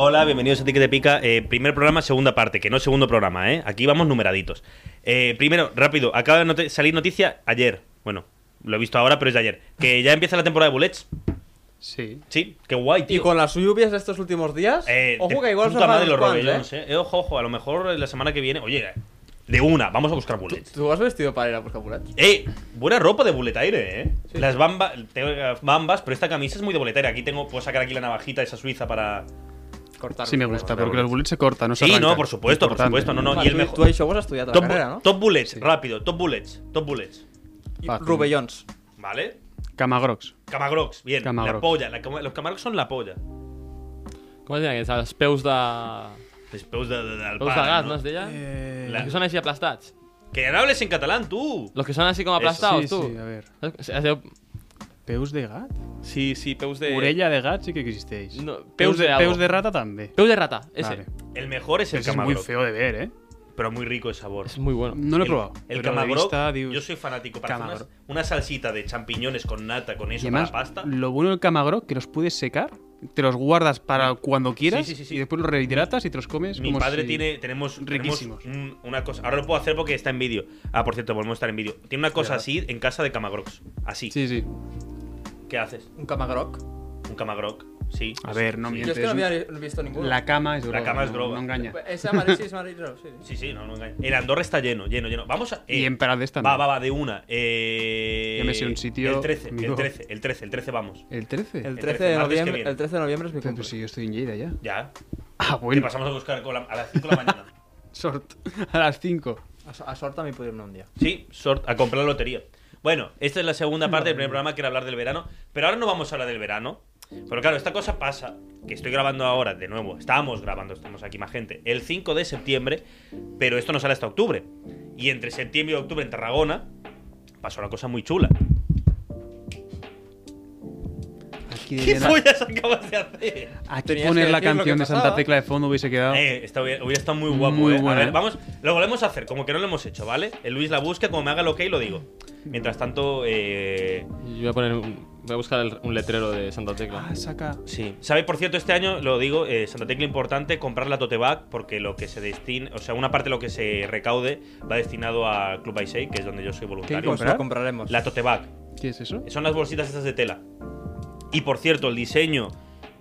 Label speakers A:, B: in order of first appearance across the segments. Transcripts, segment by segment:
A: Hola, bienvenidos a Ti que te pica. Eh, primer programa, segunda parte, que no es segundo programa, ¿eh? Aquí vamos numeraditos. Eh, primero, rápido, acaba de noti- salir noticia ayer. Bueno, lo he visto ahora, pero es de ayer. Que ya empieza la temporada de Bullets.
B: Sí.
A: Sí, qué guay, tío.
B: Y con las lluvias de estos últimos días,
A: Eh,
B: ojo
A: de
B: que igual
A: puta madre
B: los
A: los Robbie Jones, ¿eh? Eh, Ojo, ojo, a lo mejor la semana que viene. Oye, de una, vamos a buscar Bullets.
B: ¿Tú has vestido para ir a buscar Bulat?
A: ¡Eh! Buena ropa de Bullet Aire, ¿eh?
B: Sí.
A: Las bamba- te- bambas, pero esta camisa es muy de Bullet Aire. Aquí tengo, puedo sacar aquí la navajita esa suiza para.
B: Cortar.
C: Sí, me
B: Bulat.
C: gusta,
A: Claro,
C: porque
A: claro.
C: los bullets se cortan, no se
A: Sí,
C: arrancan.
A: no, por supuesto, por
C: Importante.
A: supuesto. No, no,
B: Ah,
A: y el
B: tú-
A: mejor.
B: Tú ahí vos has estudiado
A: Top,
B: la carrera, ¿no?
A: top bullets, rápido, top bullets, top bullets.
C: Fácil.
B: Rubellons.
A: ¿Vale?
C: Camagrox.
A: Camagrox, bien. La
C: Camagrox.
A: polla, la cama- los camagrox son la polla.
D: Com es deien aquests? Els peus de...
A: Els peus Pues, de, de, del
D: Peus de
A: pare,
D: gat, no es deia?
C: Eh...
D: Els que són així aplastats.
A: Que no hables en catalán, tú.
D: Los que són així com
A: Eso.
D: aplastados,
C: sí,
D: tu.
C: sí, a ver.
D: Saps? Es deu-
C: Peus de gat?
D: Sí, sí, peus de...
C: Orella de gat sí que existeix.
D: No,
C: peus,
D: peus
C: de,
D: de algo.
C: peus de rata també.
D: Peu de rata, ese.
C: Vale.
A: El mejor es el
C: Ese es muy
A: camagrox.
C: feo de ver, ¿eh?
A: Pero muy rico el sabor.
D: Es muy bueno.
C: No lo he
A: el,
C: probado.
A: El
C: pero de
A: camagrox,
C: vista, dius-
A: yo soy fanático. Para hacer unas-
C: Camagrox.
A: una, salsita de champiñones con nata, con
C: Y
A: eso, para
C: además,
A: la pasta.
C: lo bueno del camagrox que los puedes secar, te los guardas para cuando quieras
A: Sí, sí, sí, sí.
C: y después los rehidratas y te los comes
A: Mi
C: como
A: padre
C: si-
A: tiene, tenemos, tenemos
C: Riquísimos.
A: un- una cosa. Ahora lo puedo hacer porque está en vídeo. Ah, por cierto, volvemos a estar en vídeo. Tiene una cosa así en casa de camagrox. Así.
C: Sí, sí.
A: ¿Qué haces?
B: Un camagroc.
A: Un camagroc. Sí.
C: A ver, no
B: Yo
C: mientes.
B: es que no había visto ninguno. Eh, pues,
C: La cama es droga.
A: cama es
C: no-
A: droga.
C: No, engaña.
B: Ese amarillo sí, es amarillo, sí.
A: Sí, sí, no, no engañes. El Andorra está lleno, lleno, lleno. Vamos a. eh,
C: y en Prat están.
A: Va, va, va, de una. Eh,
C: Ya me sé un sitio,
A: El 13, el
C: amigo.
A: 13, el 13, el 13, vamos.
C: ¿El 13?
B: El
A: El
B: 13
A: 13, martes
B: de
A: que
B: noviembre,
A: viene.
B: el 13 de noviembre es mi
C: Pero
B: cumple.
C: si yo estoy en Lleida ya.
A: Ya.
C: Ah,
A: Te
C: bueno.
A: pasamos a buscar con la- a las 5 de la mañana.
C: Sort. A las 5.
B: A, so- a Sort también puedo irme un día.
A: Sí, sort, a comprar la lotería. Bueno, esta es la segunda parte del primer programa que era hablar del verano. Pero ahora no vamos a hablar del verano. Pero claro, esta cosa pasa, que estoy grabando ahora, de nuevo, estábamos grabando, estamos aquí más gente, el 5 de septiembre, pero esto no sale hasta octubre. Y entre septiembre y octubre en Tarragona pasó una cosa muy chula.
C: Aquí,
A: ¿Qué
C: deberían-
A: follas acabas de hacer?
C: aquí
B: Tenías que
C: poner la
B: decir lo que
C: canción de Santa
B: pasaba.
C: Tecla de fondo hubiese quedado.
A: Eh, está, hubiera hubiera estado muy guapo,
C: Muy
A: eh.
C: buena,
A: a ver,
C: eh.
A: vamos, lo volvemos a hacer, como que no lo hemos hecho, ¿vale? El Luis la busca, como me haga el ok, lo digo. Mientras tanto, eh.
D: Yo voy a poner un... Voy a buscar el- un letrero de Santa Tecla.
C: Ah, saca.
A: Sí. ¿Sabéis, por cierto, este año, lo digo, eh, Santa Tecla importante comprar la tote bag porque lo que se destina, o sea, una parte de lo que se recaude va destinado a Club Aisei, que es donde yo soy voluntario.
B: Pues
C: ¿Comprar?
B: lo compraremos.
A: La tote bag.
C: ¿Qué es eso?
A: Son las bolsitas estas de tela. Y por cierto, el diseño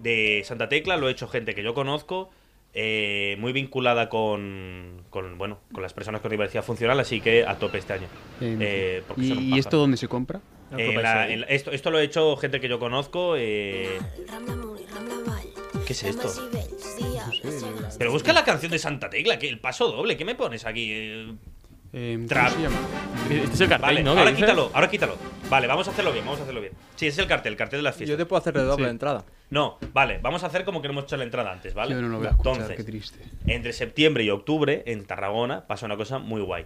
A: de Santa Tecla lo ha hecho gente que yo conozco, eh, muy vinculada con, con, bueno, con las personas con diversidad funcional, así que a tope este año.
C: Eh,
A: Eh, porque
C: ¿Y,
A: son un
C: y
A: pájaro.
C: esto dónde se compra?
B: No
A: Eh,
B: preocupéis,
A: la-
B: eh.
A: en la- esto, esto lo ha hecho gente que yo conozco. eh,
E: ¿Qué es esto?
A: pero busca la canción de Santa Tecla, que el paso doble, ¿qué me pones aquí? Eh,
C: Eh, ¿cómo
A: Trap.
C: se llama?
D: Este es el cartell,
A: vale,
D: ¿no? que
A: ahora
D: dices?
A: quítalo, ahora quítalo. Vale, vamos a hacerlo bien, vamos a hacerlo bien. Sí, es el cartel, el cartel de las
B: Yo
A: fiestas.
B: te puedo hacer de doble
C: Sí.
B: entrada.
A: No, vale, vamos a hacer como que no hemos hecho la entrada antes, ¿vale?
C: Yo no lo voy a escuchar,
A: Entonces,
C: qué triste.
A: entre septiembre y octubre, en Tarragona, pasa una cosa muy guay.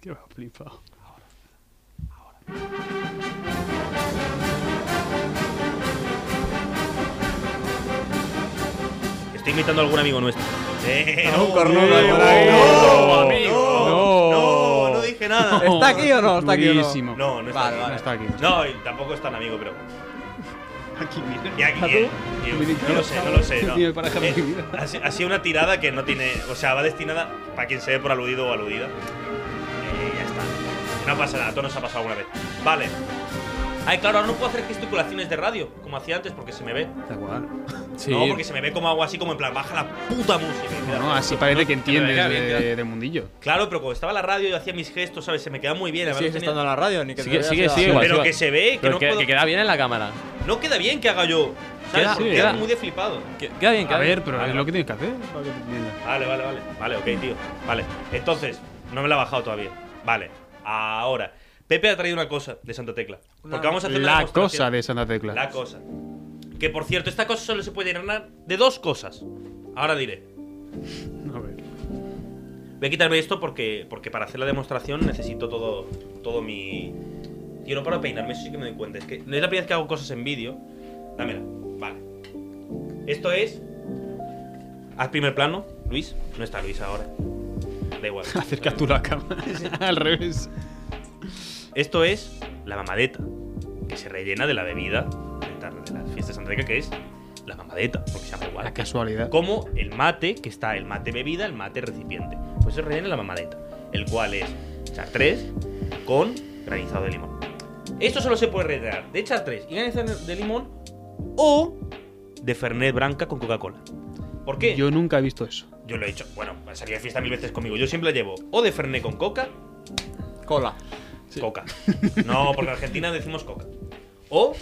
C: Qué va, flipado.
A: Estoy imitando a algún amigo nuestro. ¡Eh!
B: Un cornudo
C: eh,
B: por
C: no,
B: ahí.
A: ¡No, amigo!
C: no.
A: ¡No! ¡No dije nada!
B: ¿Está aquí o no? ¿Está aquí o no?
C: Durísimo.
A: No, no está
B: Vale,
A: aquí.
B: vale.
C: No está aquí.
A: No, y tampoco es tan amigo, pero.
C: Aquí, mira.
A: Y aquí,
C: ¿Tú?
A: eh, y- no lo sé, no lo sé. No.
C: Tiene el paraje de
A: Eh,
C: mi vida.
A: ha si- ha sido una tirada que no tiene. O sea, va destinada para quien se ve por aludido o aludida. Eh, ya está. No pasa nada, todo nos ha pasado alguna vez. Vale. Ay, claro, ahora no puedo hacer gesticulaciones de radio, como hacía antes, porque se me ve.
C: Da igual.
D: Sí.
A: No, porque se me ve como hago así, como en plan, baja la puta música. Y
C: No,
A: mira,
C: no, así parece que entiendes
D: venga,
C: de,
D: venga.
C: de mundillo.
A: Claro, pero cuando estaba la radio yo hacía mis gestos, ¿sabes? Se me queda muy bien.
B: Sigues
A: además,
B: estando en la radio, ni que
D: Sigue,
B: te
D: sigue,
B: veas
D: sigue.
B: a-
D: igual,
A: Pero
D: sigue
A: que
D: igual.
A: se ve, que
D: Pero
A: no
D: que,
A: puedo-
D: que queda bien en la cámara.
A: No queda bien que haga yo. ¿Sabes?
D: Queda-
A: Porque
D: sí,
A: queda
D: queda.
A: muy de flipado.
D: Que- Queda bien,
C: A
D: queda
C: ver,
D: bien.
C: pero
A: Vale,
C: es
A: vale.
C: lo que tienes que hacer. para que te entiendas.
A: Vale, vale, vale. Vale, ok, tío. Vale. Entonces, no me la ha bajado todavía. Vale. Ahora, Pepe ha traído una cosa de Santa Tecla.
B: Una-
A: Porque vamos a hacer una
C: La
A: demostración.
C: cosa de Santa Tecla.
A: La cosa. Que por cierto, esta cosa solo se puede llenar de dos cosas. Ahora diré.
C: A ver.
A: Voy a quitarme esto porque, porque para hacer la demostración necesito todo, todo mi. Yo no paro de peinarme, eso sí que me doy cuenta. Es que no es la primera vez que hago cosas en vídeo. Dámela. Vale. Esto es. Haz primer plano, Luis. No está Luis ahora. Da igual.
C: Acerca tú la cámara. Al revés.
A: Esto es la mamadeta, que se rellena de la bebida de tar- de la fiesta de Santa Tecla, que es la mamadeta, porque se llama igual.
C: La casualidad.
A: Como el mate, que está el mate bebida, el mate recipiente. Pues se rellena la mamadeta, el cual es chartres con granizado de limón. Esto solo se puede rellenar de chartres y granizado de limón o de fernet branca con Coca-Cola. ¿Por qué?
C: Yo nunca he visto eso.
A: Yo lo he hecho. Bueno, ha salido de fiesta mil veces conmigo. Yo siempre la llevo o de fernet con coca
B: Cola.
A: Coca. No, porque en Argentina decimos coca. O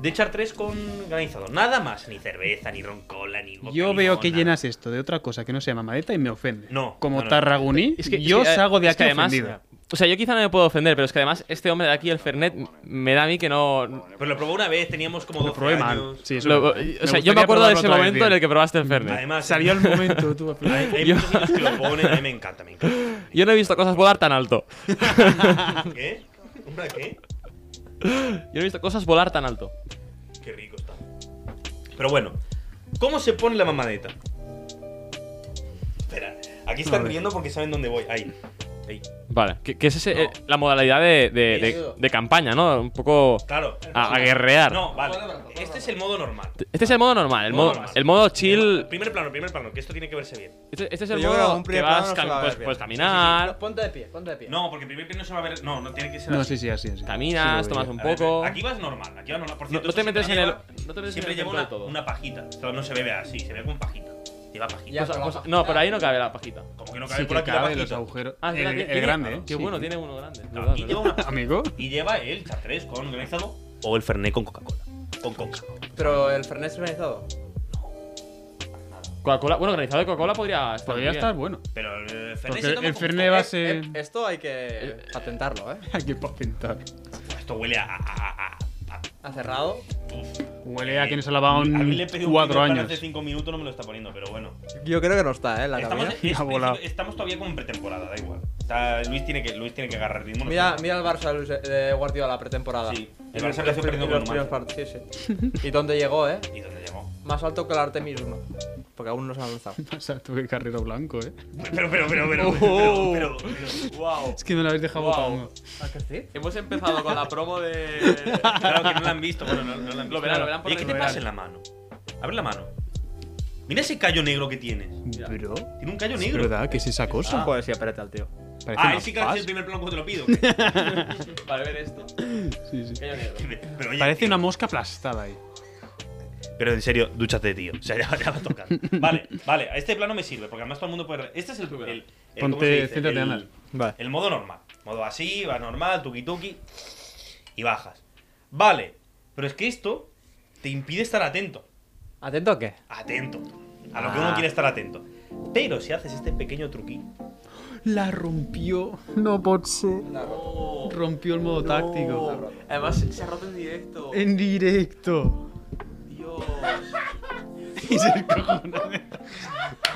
A: de echar tres con granizado. Nada más. Ni cerveza, ni roncola, ni vodka,
C: Yo
A: ni
C: veo
A: nada.
C: que llenas esto de otra cosa que no sea mamadeta y me ofende.
A: No,
C: Como
A: no, no.
C: tarragoní, yo
D: es que,
C: salgo de
D: es
C: aquí
D: que además,
C: ofendido.
D: O sea, yo quizá no me puedo ofender, pero es que además este hombre de aquí, el Fernet, m- me da a mí que no...
A: Pero lo probé una vez, teníamos como
C: Lo
A: 12
C: probé mal.
A: años.
C: Sí, eso-
D: lo-
C: me
D: o sea,
C: gustaría
D: yo me acuerdo de
C: probarlo
D: ese
C: otra vez
D: momento
C: bien.
D: en el que probaste el Fernet.
A: Además,
C: Salió el momento, tú.
A: hay, hay
D: Yo-
A: muchos sitios que lo ponen, a mí me encanta, me encanta.
D: Yo no he visto cosas volar tan alto.
A: ¿Qué? ¿Una qué?
D: Yo no he visto cosas volar tan alto.
A: Qué rico está. Pero bueno, ¿cómo se pone la mamadeta? Espera, aquí están riendo porque saben dónde voy. Ahí. Ahí.
D: Vale, que, que es ese,
A: No.
D: eh, la modalidad de, de- de- de campaña, ¿no? Un poco
A: Claro.
D: a, a guerrear.
A: No, vale. Este es el modo normal.
D: Este es el modo normal, el modo,
A: normal.
D: el modo chill.
A: Primer plano, primer plano, que esto tiene que verse bien.
D: Este, este es el
B: Yo creo que
D: modo
B: un
D: que
B: primer plano
D: vas
B: no se
D: cam-
B: va a ver
D: pues,
B: bien.
D: pues
B: Ah, No,
D: caminar,
B: ponte de pie, ponte de pie.
A: No, porque primero que no se va a ver. No, no tiene que ser.
C: No,
A: así.
C: sí, sí, así, así.
D: caminas,
C: Sí, lo
D: tomas
C: veía.
D: un
A: A ver,
D: poco.
A: Aquí vas normal, aquí vas normal. Por
D: No-
A: cierto,
D: no te
A: siempre
D: metes en el-
A: lleva-
D: no te metes en
A: Siempre
D: el
A: lleva
D: centro
A: una,
D: de todo.
A: una pajita. Esto no se bebe así, se bebe con pajita. Lleva pajita.
B: Ya.
D: Pues- pues- no, pero ahí no cabe la pajita.
A: Como que no cabe
C: Sí,
A: por
C: que
A: aquí la
C: cabe
A: pajita.
C: los agujeros.
D: Ah,
C: el,
D: es verdad,
C: el
D: tiene-
C: grande, ¿eh?
D: Qué
C: Sí.
D: bueno, tiene uno grande. es
A: Claro,
D: verdad,
A: y
D: es
A: lleva
D: verdad.
A: una pajita.
C: Amigo.
A: Y lleva el chatrés con granizado o el fernet con Coca-Cola. Con coca.
B: Pero el Fernet es organizado.
D: Coca-Cola, bueno, organizado de Coca-Cola podría estar.
C: Podría
D: muy
C: estar
D: bien.
C: bueno.
A: Pero el fernet
C: Porque
A: se toma
C: el
A: con
C: Fernet
A: coca.
C: va a
B: Eh,
C: ser.
B: eh, esto hay que patentarlo, ¿eh?
C: Hay que patentar.
A: Esto huele a. a, a, a- a-
B: Ha cerrado.
C: Huele a que nos ha lavado
A: A mí
C: en
A: le he pedido un
C: cuatro
A: primer plano
C: años.
A: Hace 5 minutos no me lo está poniendo, pero bueno.
B: Yo creo que no está, ¿eh? La
A: Estamos,
B: cabina.
A: es- es-
C: Ha volado.
A: estamos todavía como en pretemporada, da igual. Está- Luis, tiene que, Luis tiene que agarrar ritmo.
B: Mira,
A: nosotros-
B: mira el Barça Luis, eh, de Guardiola pretemporada.
A: Sí, el Barça
B: Y los-
A: empezó
B: los-
A: perdiendo
B: y
A: con
B: los
A: Numancia.
B: primeros partidos, sí, sí. Y dónde llegó, ¿eh?
A: ¿Y dónde llegó?
B: Más alto que el Artemis 1. Porque aún no se ha lanzado.
C: O sea, tuve carrero blanco, ¿eh?
A: Pero, pero, pero, pero,
C: Oh.
A: pero, pero, pero-
D: Wow.
C: Es que me lo habéis dejado
D: Wow.
C: botando.
B: ¿A que sí?
D: Hemos empezado con la promo de.
A: Claro que no la han visto, bueno, no, no la han visto.
D: Lo verán, lo verán por
A: Oye,
D: la-
A: ¿qué
D: lo
A: te
D: verán.
A: pasa en la mano? Abre la mano. Mira ese callo negro que tienes.
C: Bro.
A: Tiene un callo
C: ¿Es
A: negro.
C: verdad que es esa cosa?
B: Joder, sí, espérate al tío.
C: Parece
A: Ah,
C: una
A: él sí que hace el
C: paz.
A: primer plano cuando te lo pido. ¿qué?
D: Para ver esto.
C: Sí, sí.
D: Pequeño negro.
A: Pero, oye,
C: Parece
A: tío,
C: una mosca aplastada ahí.
A: pero en serio, dúchate, tío. O sea, ya, ya va a tocar. Vale, vale, a este plano me sirve, porque además todo el mundo puede. Este es el. el, el- ¿cómo
C: Ponte-
A: se dice?
C: céntrate,
A: El-
C: Ana.
B: Vale.
A: El modo normal. Modo así, va normal, tuki tuki. Y bajas. Vale. Pero es que esto te impide estar atento.
B: ¿Atento a qué?
A: Atento. A lo que uno quiere estar atento. Pero si haces este pequeño truquillo.
C: La rompió. No pot ser. Rompió el modo táctico.
D: Además, se ha roto en directo.
C: En directo.
D: Dios.
C: Y se encojona.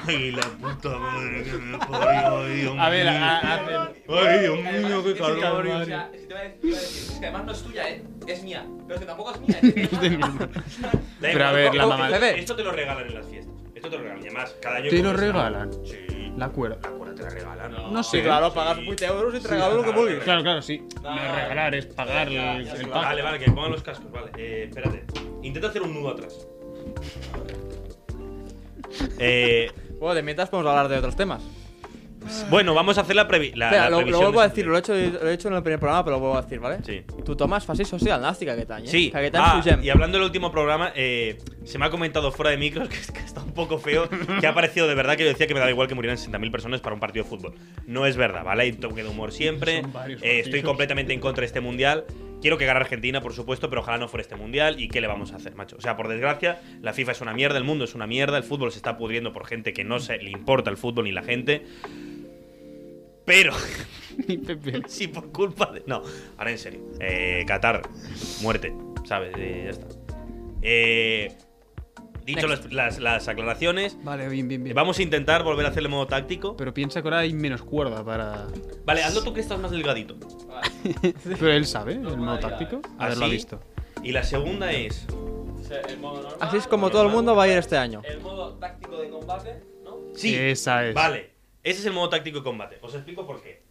A: Ay, la puta madre que me parió, ay, Dios
C: A ver,
A: mío.
C: a- a- a-
A: Ay, Dios mío, qué calor.
C: calor.
D: te va a decir, es que además no es tuya, ¿eh? Es mía. Pero es que tampoco es mía. ¿eh? Es de mi
A: Da
C: Pero a
A: igual,
C: ver, la
A: esto-
C: mamá-
A: Esto te lo regalan en las fiestas. Esto te lo regalan. Y además, cada año.
C: ¿Te lo
A: como es-
C: regalan?
A: Sí.
C: La cuerda.
A: La cuerda te la regalan.
C: No sé.
B: Claro, pagas 20 euros y te regalo lo que
A: claro.
B: vulgues.
C: Claro, claro, sí. No es regalar, es pagar el, el pack.
A: Vale, vale, que pongan los cascos, vale. Eh, espérate. Intenta hacer un nudo atrás. Eh,
B: Bueno, de mientras podemos hablar de otros temas.
A: bueno, vamos a hacer la, previ la,
B: Espera,
A: la
B: lo, lo
A: previsión
B: vuelvo
A: de
B: a decir, lo he, hecho, lo he hecho en el primer programa, pero lo vuelvo a decir, ¿vale?
A: Sí.
B: Tú tomas fase social nástica que tañe.
A: Sí,
B: ¿eh? Que
A: ah,
B: tañe su gem.
A: y hablando del último programa, eh, se me ha comentado fuera de micros que, es que está un poco feo, que ha parecido de verdad que yo decía que me daba igual que murieran 60.000 personas para un partido de fútbol. No es verdad, ¿vale? Hay un toque de humor siempre,
C: Son varios
A: eh, estoy
C: partidos.
A: completamente en contra de este mundial, quiero que gane Argentina, por supuesto, pero ojalá no fuera este mundial y qué le vamos a hacer, macho. O sea, por desgracia, la FIFA es una mierda, el mundo es una mierda, el fútbol se está pudriendo por gente que no se le importa el fútbol ni la gente. Pero
C: Ni Pepe.
A: si por culpa de. No, ahora en serio. Eh, Qatar, muerte, ¿sabes? Eh, ya está. Eh, dicho las, las- las aclaraciones,
C: Vale, bien, bien, bien.
A: vamos a intentar volver a hacer el modo táctico.
C: Pero piensa que ahora hay menos cuerda para.
A: Vale, hazlo tú que estás más delgadito.
C: Pero él sabe el modo táctico. Haberlo
A: Así.
C: visto.
A: Y la segunda es.
B: Así es como todo el mundo va a ir este año.
A: Sí.
C: Esa es.
A: Vale. Ese es el modo táctico de combate. Os explico por qué.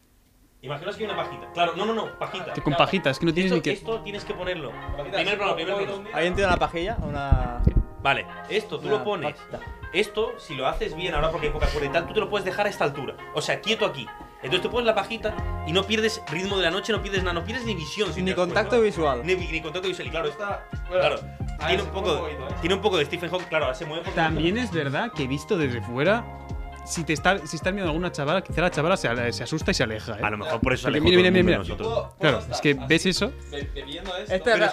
A: Imaginaos que hay una pajita. Claro, no, no, no, pajita.
C: Te- Con pajitas, que no tienes
A: Esto,
C: ni que.
A: esto tienes que ponerlo. Primer plano, primer plano.
B: ¿Alguien tiene una pajilla? Una.
A: Vale, esto tú
B: una
A: lo pones.
B: pajita.
A: Esto, si lo haces bien ahora porque hay poca cuerda y tal, tú te lo puedes dejar a esta altura. O sea, quieto aquí. Entonces tú pones la pajita y no pierdes ritmo de la noche, no pierdes nada, no pierdes ni visión. si
B: Ni
A: te das
B: contacto
A: cuenta.
B: visual.
A: Ni, ni contacto visual. Y claro, está. Claro. Tiene un, poco,
F: ¿eh?
A: tiene un poco de Stephen Hawking. Claro, ahora se mueve. porque-
C: También es verdad que visto desde fuera, si te está, si estás viendo a alguna chavala, quizá la chavala se, ale- se asusta y se aleja. ¿eh?
A: A lo mejor por eso
C: Porque
A: alejó
C: mira,
A: todo
C: mira,
A: el mundo
C: mira,
A: de
C: mira.
A: nosotros.
C: Claro, es que ves eso.
B: Este,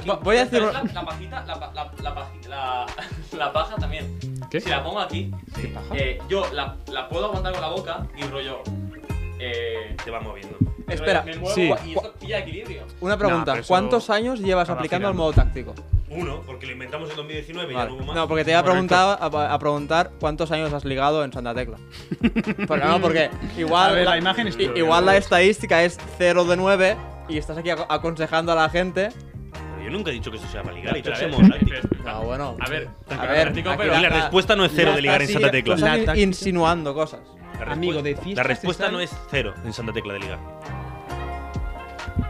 B: vo- voy a decir.
F: La, la pajita, la, pa- la, la, paji- la, la paja también.
C: ¿Qué?
F: Si la pongo aquí, eh, yo la, la puedo aguantar con la boca y rollo. Eh,
A: Te va moviendo.
B: Espera,
F: rollo, me muevo
C: sí.
F: y esto pilla equilibrio.
B: Una
C: Nah,
B: pregunta.
C: pero eso
B: ¿Cuántos años llevas
C: acaba
B: aplicando el
C: girando.
B: modo táctico?
A: Uno, porque lo inventamos en 2019 y Pues ya
B: Vale.
A: no hubo más.
B: No, porque te iba a
C: Correcto.
B: preguntar, a, a preguntar cuántos años has ligado en Santa Tecla. Pero no, porque igual.
C: A ver, la imagen es
B: i-
C: tuya.
B: Igual la estadística es 0 de 9 y estás aquí aco- aconsejando a la gente.
A: Pero Yo nunca he dicho que eso sea para ligar. He dicho
F: Pero,
A: que
F: a
A: sea
F: ver,
A: modo
F: espera,
A: táctico.
F: espera.
B: Ah, bueno.
F: A ver,
B: A ver,
F: táctico,
B: aquí
F: pero-
A: Y la respuesta no es cero de ligar en Santa Tecla.
C: La
B: Estás in-
C: táctica.
B: insinuando cosas.
A: La
C: Amigo,
A: respuesta-
C: de fiestas
A: La respuesta
C: están-
A: no es cero en Santa Tecla de ligar.
B: No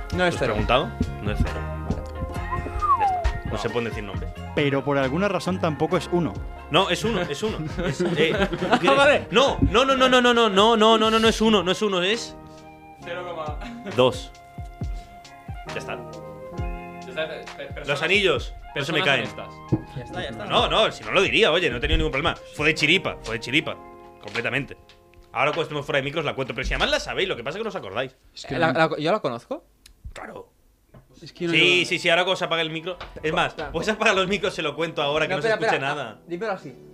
A: ¿Te
B: es
A: has
B: cero.
A: preguntado? No es cero. Ya está. No se pueden decir nombres.
G: Pero por alguna razón tampoco es uno.
A: No, es uno, es uno. Es, eh,
B: vale.
A: No, no, no, no, no, no, no, no, no, no, no, no es uno, no es uno, es
F: 0,
A: dos. Ya está.
F: eh,
A: Los anillos. No se me caen.
B: Ya está, ya está.
A: No, no, si no lo diría, oye, no he tenido ningún problema. Fue de chiripa, fue de chiripa. Completamente. Ahora cuando estemos fuera de micros la cuento, pero si además la sabéis, lo que pasa es que no os acordáis.
C: Es que,
B: La- la- ¿Yo la conozco?
A: Claro.
C: es que no
A: Sí,
C: lleva-
A: sí, sí, ahora cuando se apaga el micro. Es más,
B: Claro.
A: pues apaga los micros, se lo cuento ahora, que no, se
B: espera,
A: escuche
B: espera.
A: nada.
B: Dímelo así.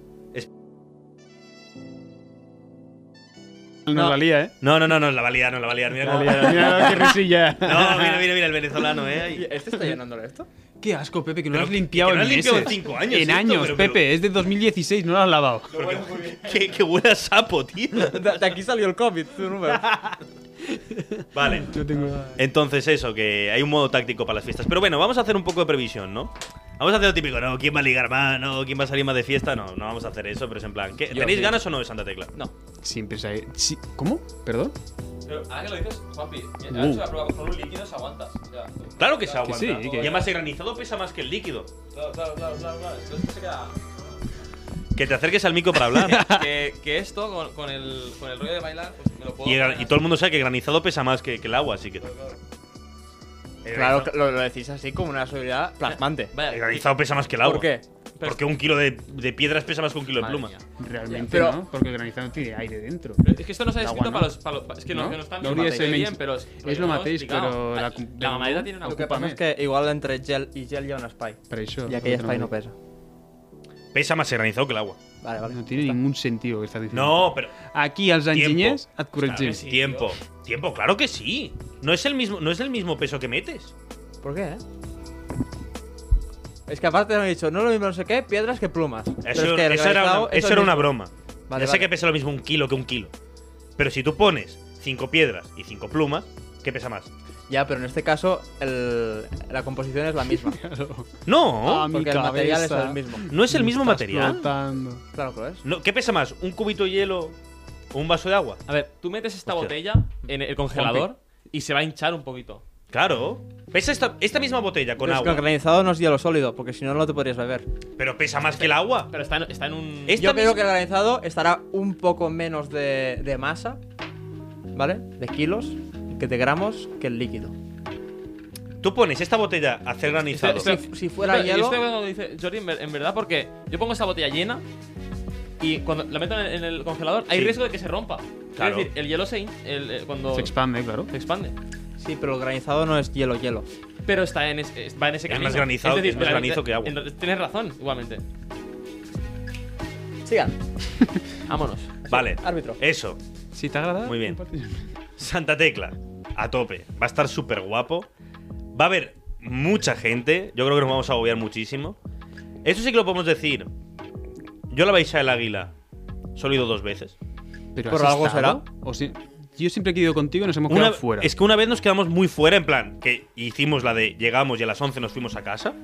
C: No, la lía, ¿eh?
A: No, no, no, no, la va a liar, no la va a liar, mira
C: La
A: cómo-
C: lía, mira qué risilla.
A: No, mira, mira, mira, el venezolano, eh. ahí.
B: ¿Este está llenándole esto?
C: Qué asco, Pepe, que no
A: Pero
C: lo has limpiado
A: que no
C: en
A: lo has limpiado en
C: meses.
A: cinco años,
C: En
A: esto,
C: años,
A: pero-
C: Pepe, es de 2016, no lo has lavado.
A: Pero que- que, que huele a sapo, tío.
B: De, de aquí salió el COVID, tu número.
A: Vale.
C: Yo tengo.
A: Entonces eso, que hay un modo táctico para las fiestas. Pero bueno, vamos a hacer un poco de previsión, ¿no? Vamos a hacer lo típico, no, ¿quién va a ligar más? No, ¿quién va a salir más de fiesta? No, no vamos a hacer eso, pero es en plan, ¿qué-
B: Yo
A: ¿tenéis
B: sí.
A: ganas o no de Santa Tecla?
B: No.
C: Siempre se ha- sí, ¿Cómo? ¿Perdón?
F: Pero ahora que lo dices, Juanpi, eh, ya
C: Uh.
F: hecho la prueba con un líquido se aguanta. O sea,
A: Claro que se aguanta.
C: sí, que-
A: Y además el granizado pesa más que el líquido.
F: Claro, claro, claro, claro, claro. Entonces se queda.
A: Que te acerques al mico para hablar.
D: que, esto con, el, con el rollo de bailar,
F: pues,
D: me lo
A: y, el gran- y todo el mundo sabe que el granizado pesa más que, que el agua, así que... El
B: Claro,
A: granizado-
B: lo, lo decís así como una seguridad plasmante.
A: El granizado pesa más que el agua.
B: ¿Por qué?
A: Porque un kilo de, de piedras pesa más que un kilo de plumas.
C: Realmente
B: Pero-
C: no, porque el granizado tiene aire dentro.
D: Es que esto no se ha
C: Agua,
D: escrito
C: ¿no?
D: para los. para los- es que no,
C: ¿No?
D: que no están
C: Lo
D: bien,
C: habría
D: bien,
C: hecho-
D: pero es,
C: es lo mateix, pero la-
D: la, la mamadera tiene una
B: Lo que
D: culpa.
B: pasa es que igual entre gel y gel lleva una spy.
C: Para eso.
B: Y aquella
C: otra
B: spy no pesa.
A: Pesa más el granizado que el agua.
B: Vale, vale.
C: No tiene ningún sentido que estás diciendo.
A: No, pero...
C: Aquí, als
A: Tiempo.
C: enginyers, et
A: Claro
C: corregim.
A: que sí, tiempo, tiempo, claro que sí. No es el mismo, no es el mismo peso que metes.
B: ¿Por qué, eh? Es que aparte me han dicho, no es lo mismo no sé qué, piedras que plumas. Pero
A: Eso,
B: es que
A: eso era,
B: realizado
A: una,
B: es
A: eso
B: el
A: era una
B: mismo.
A: broma.
B: Vale,
A: ya sé
B: vale.
A: que pesa lo mismo un kilo que un kilo. Pero si tú pones cinco piedras y cinco plumas, ¿qué pesa más?
B: Ya, pero en este caso el- la composición es la misma.
A: No,
C: Ah, mi
B: porque el material es
C: cabeza.
B: el mismo.
A: no es el mismo material.
C: Flotando.
B: Claro que lo es.
A: No, ¿Qué pesa más, un cubito de hielo o un vaso de agua?
D: A ver, tú metes esta
A: Hostia.
D: botella en el congelador y se va a hinchar un poquito.
A: Claro. Pesa esta, esta misma botella con
B: Pero es que el
A: agua,
B: granizado no es hielo sólido, porque si no, no te podrías beber.
A: pero pesa más que el agua.
D: Pero está en, está en un.
A: Esta
B: Yo creo
A: misma-
B: que el granizado estará un poco menos de, de masa, ¿vale? De kilos, que de gramos, que el líquido.
A: Tú pones esta botella a hacer granizado.
D: Este- este-
B: Si- si fuera
D: Yo
B: hielo-
D: estoy hablando de lo que dice Jordi en, ver- en verdad porque yo pongo esa botella llena y cuando la meto en el, en el congelador hay
A: Sí.
D: riesgo de que se rompa.
A: Claro.
D: Es decir, el hielo se hin- el- eh, cuando
C: Se expande, claro.
D: se expande.
B: Sí, pero el granizado no es hielo, hielo.
D: Pero está en es- es- va en ese
A: Es
D: camino.
A: más granizado- es más
D: la-
A: granizo que agua.
D: en- tienes razón, igualmente.
B: Sigan,
D: Vámonos.
A: Vale.
B: árbitro.
A: Eso.
C: Si t'ha agradat...
A: Muy bien. Santa Tecla, a tope. Va a estar súper guapo. Va a haber mucha gente. Yo creo que nos vamos a agobiar muchísimo. Eso sí que lo podemos decir. Yo a la Baixa del Águila solo he ido dos veces.
C: Pero
B: ¿Por
C: ¿has
B: algo
C: estado? ¿O si- Yo siempre que he ido contigo nos hemos quedado
A: Una-
C: fuera.
A: Es que una vez nos quedamos muy fuera, en plan, que hicimos la de llegamos y a las 11 nos fuimos a casa.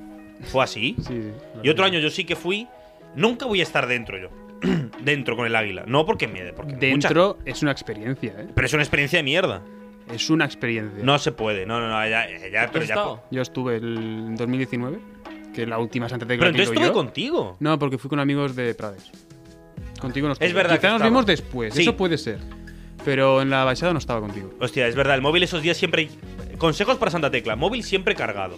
A: Fue así.
C: Sí, sí.
A: Y otro año yo sí que fui. Nunca voy a estar dentro yo. dentro con el águila. No porque me dé, porque mucha-
C: Dentro es una experiencia, ¿eh?
A: Pero es una experiencia de mierda.
C: Es una experiencia.
A: No se puede. No, no, no. Ya, ya,
D: ¿Tú
A: pero
D: has
A: ya.
D: estado?
C: Yo estuve el 2019, que la última Santa Tecla
A: Pero
C: que he
A: entonces
C: ido
A: estuve
C: yo.
A: contigo.
C: No, porque fui con amigos de Prades. Contigo no estuve.
A: verdad que
C: Quizá nos
A: estaba.
C: vimos después,
A: Sí.
C: eso puede ser. Pero en la baixada no estaba contigo.
A: Hostia, es verdad. El móvil esos días siempre. Consejos para Santa Tecla. Móvil siempre cargado.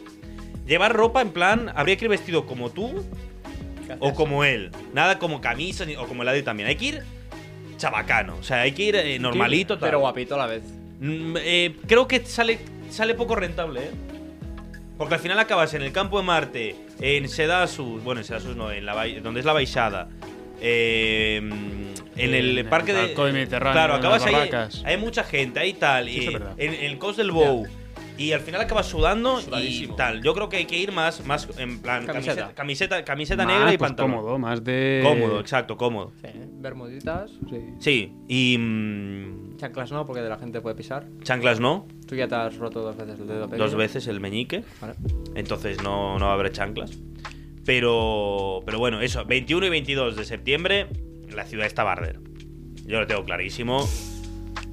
A: Llevar ropa en plan. Habría que ir vestido como tú o como él. Nada como camisa ni- o como el Adi también. Hay que ir chabacano. O sea, hay que ir eh, normalito. tal.
B: Pero guapito a la vez.
A: Mm, eh, creo que sale, sale poco rentable, ¿eh? Porque al final acabas en el campo de Marte, en Sedasus, bueno, en Sedasus no, en la bai- donde es la Baixada, eh, en el
C: En el
A: parque de.
C: Balcón Mediterráneo,
A: Claro,
C: en
A: acabas
C: las
A: ahí.
C: barracas.
A: Hay mucha gente, hay tal,
C: Sí, eso es
A: eh,
C: verdad.
A: en, en el Cos del Bow. Y al final acabas sudando y
D: Sudadísimo.
A: tal. Yo creo que hay que ir más, más en plan
B: Camiseta.
A: camiseta, camiseta, camiseta
C: Más,
A: negra y
C: pues,
A: pantalón.
C: cómodo, más de.
A: Cómodo, exacto, cómodo.
B: Sí. Bermuditas.
C: Sí.
A: Sí, y. mm,
B: Chanclas no, porque de la gente puede pisar.
A: chanclas no,
B: Tú ya te has roto dos veces el dedo pequeño.
A: dos veces el meñique.
B: Vale.
A: Entonces no, no va a haber chanclas. Pero, pero bueno, eso, 21 y 22 de septiembre, la ciudad está barder. Yo lo tengo clarísimo.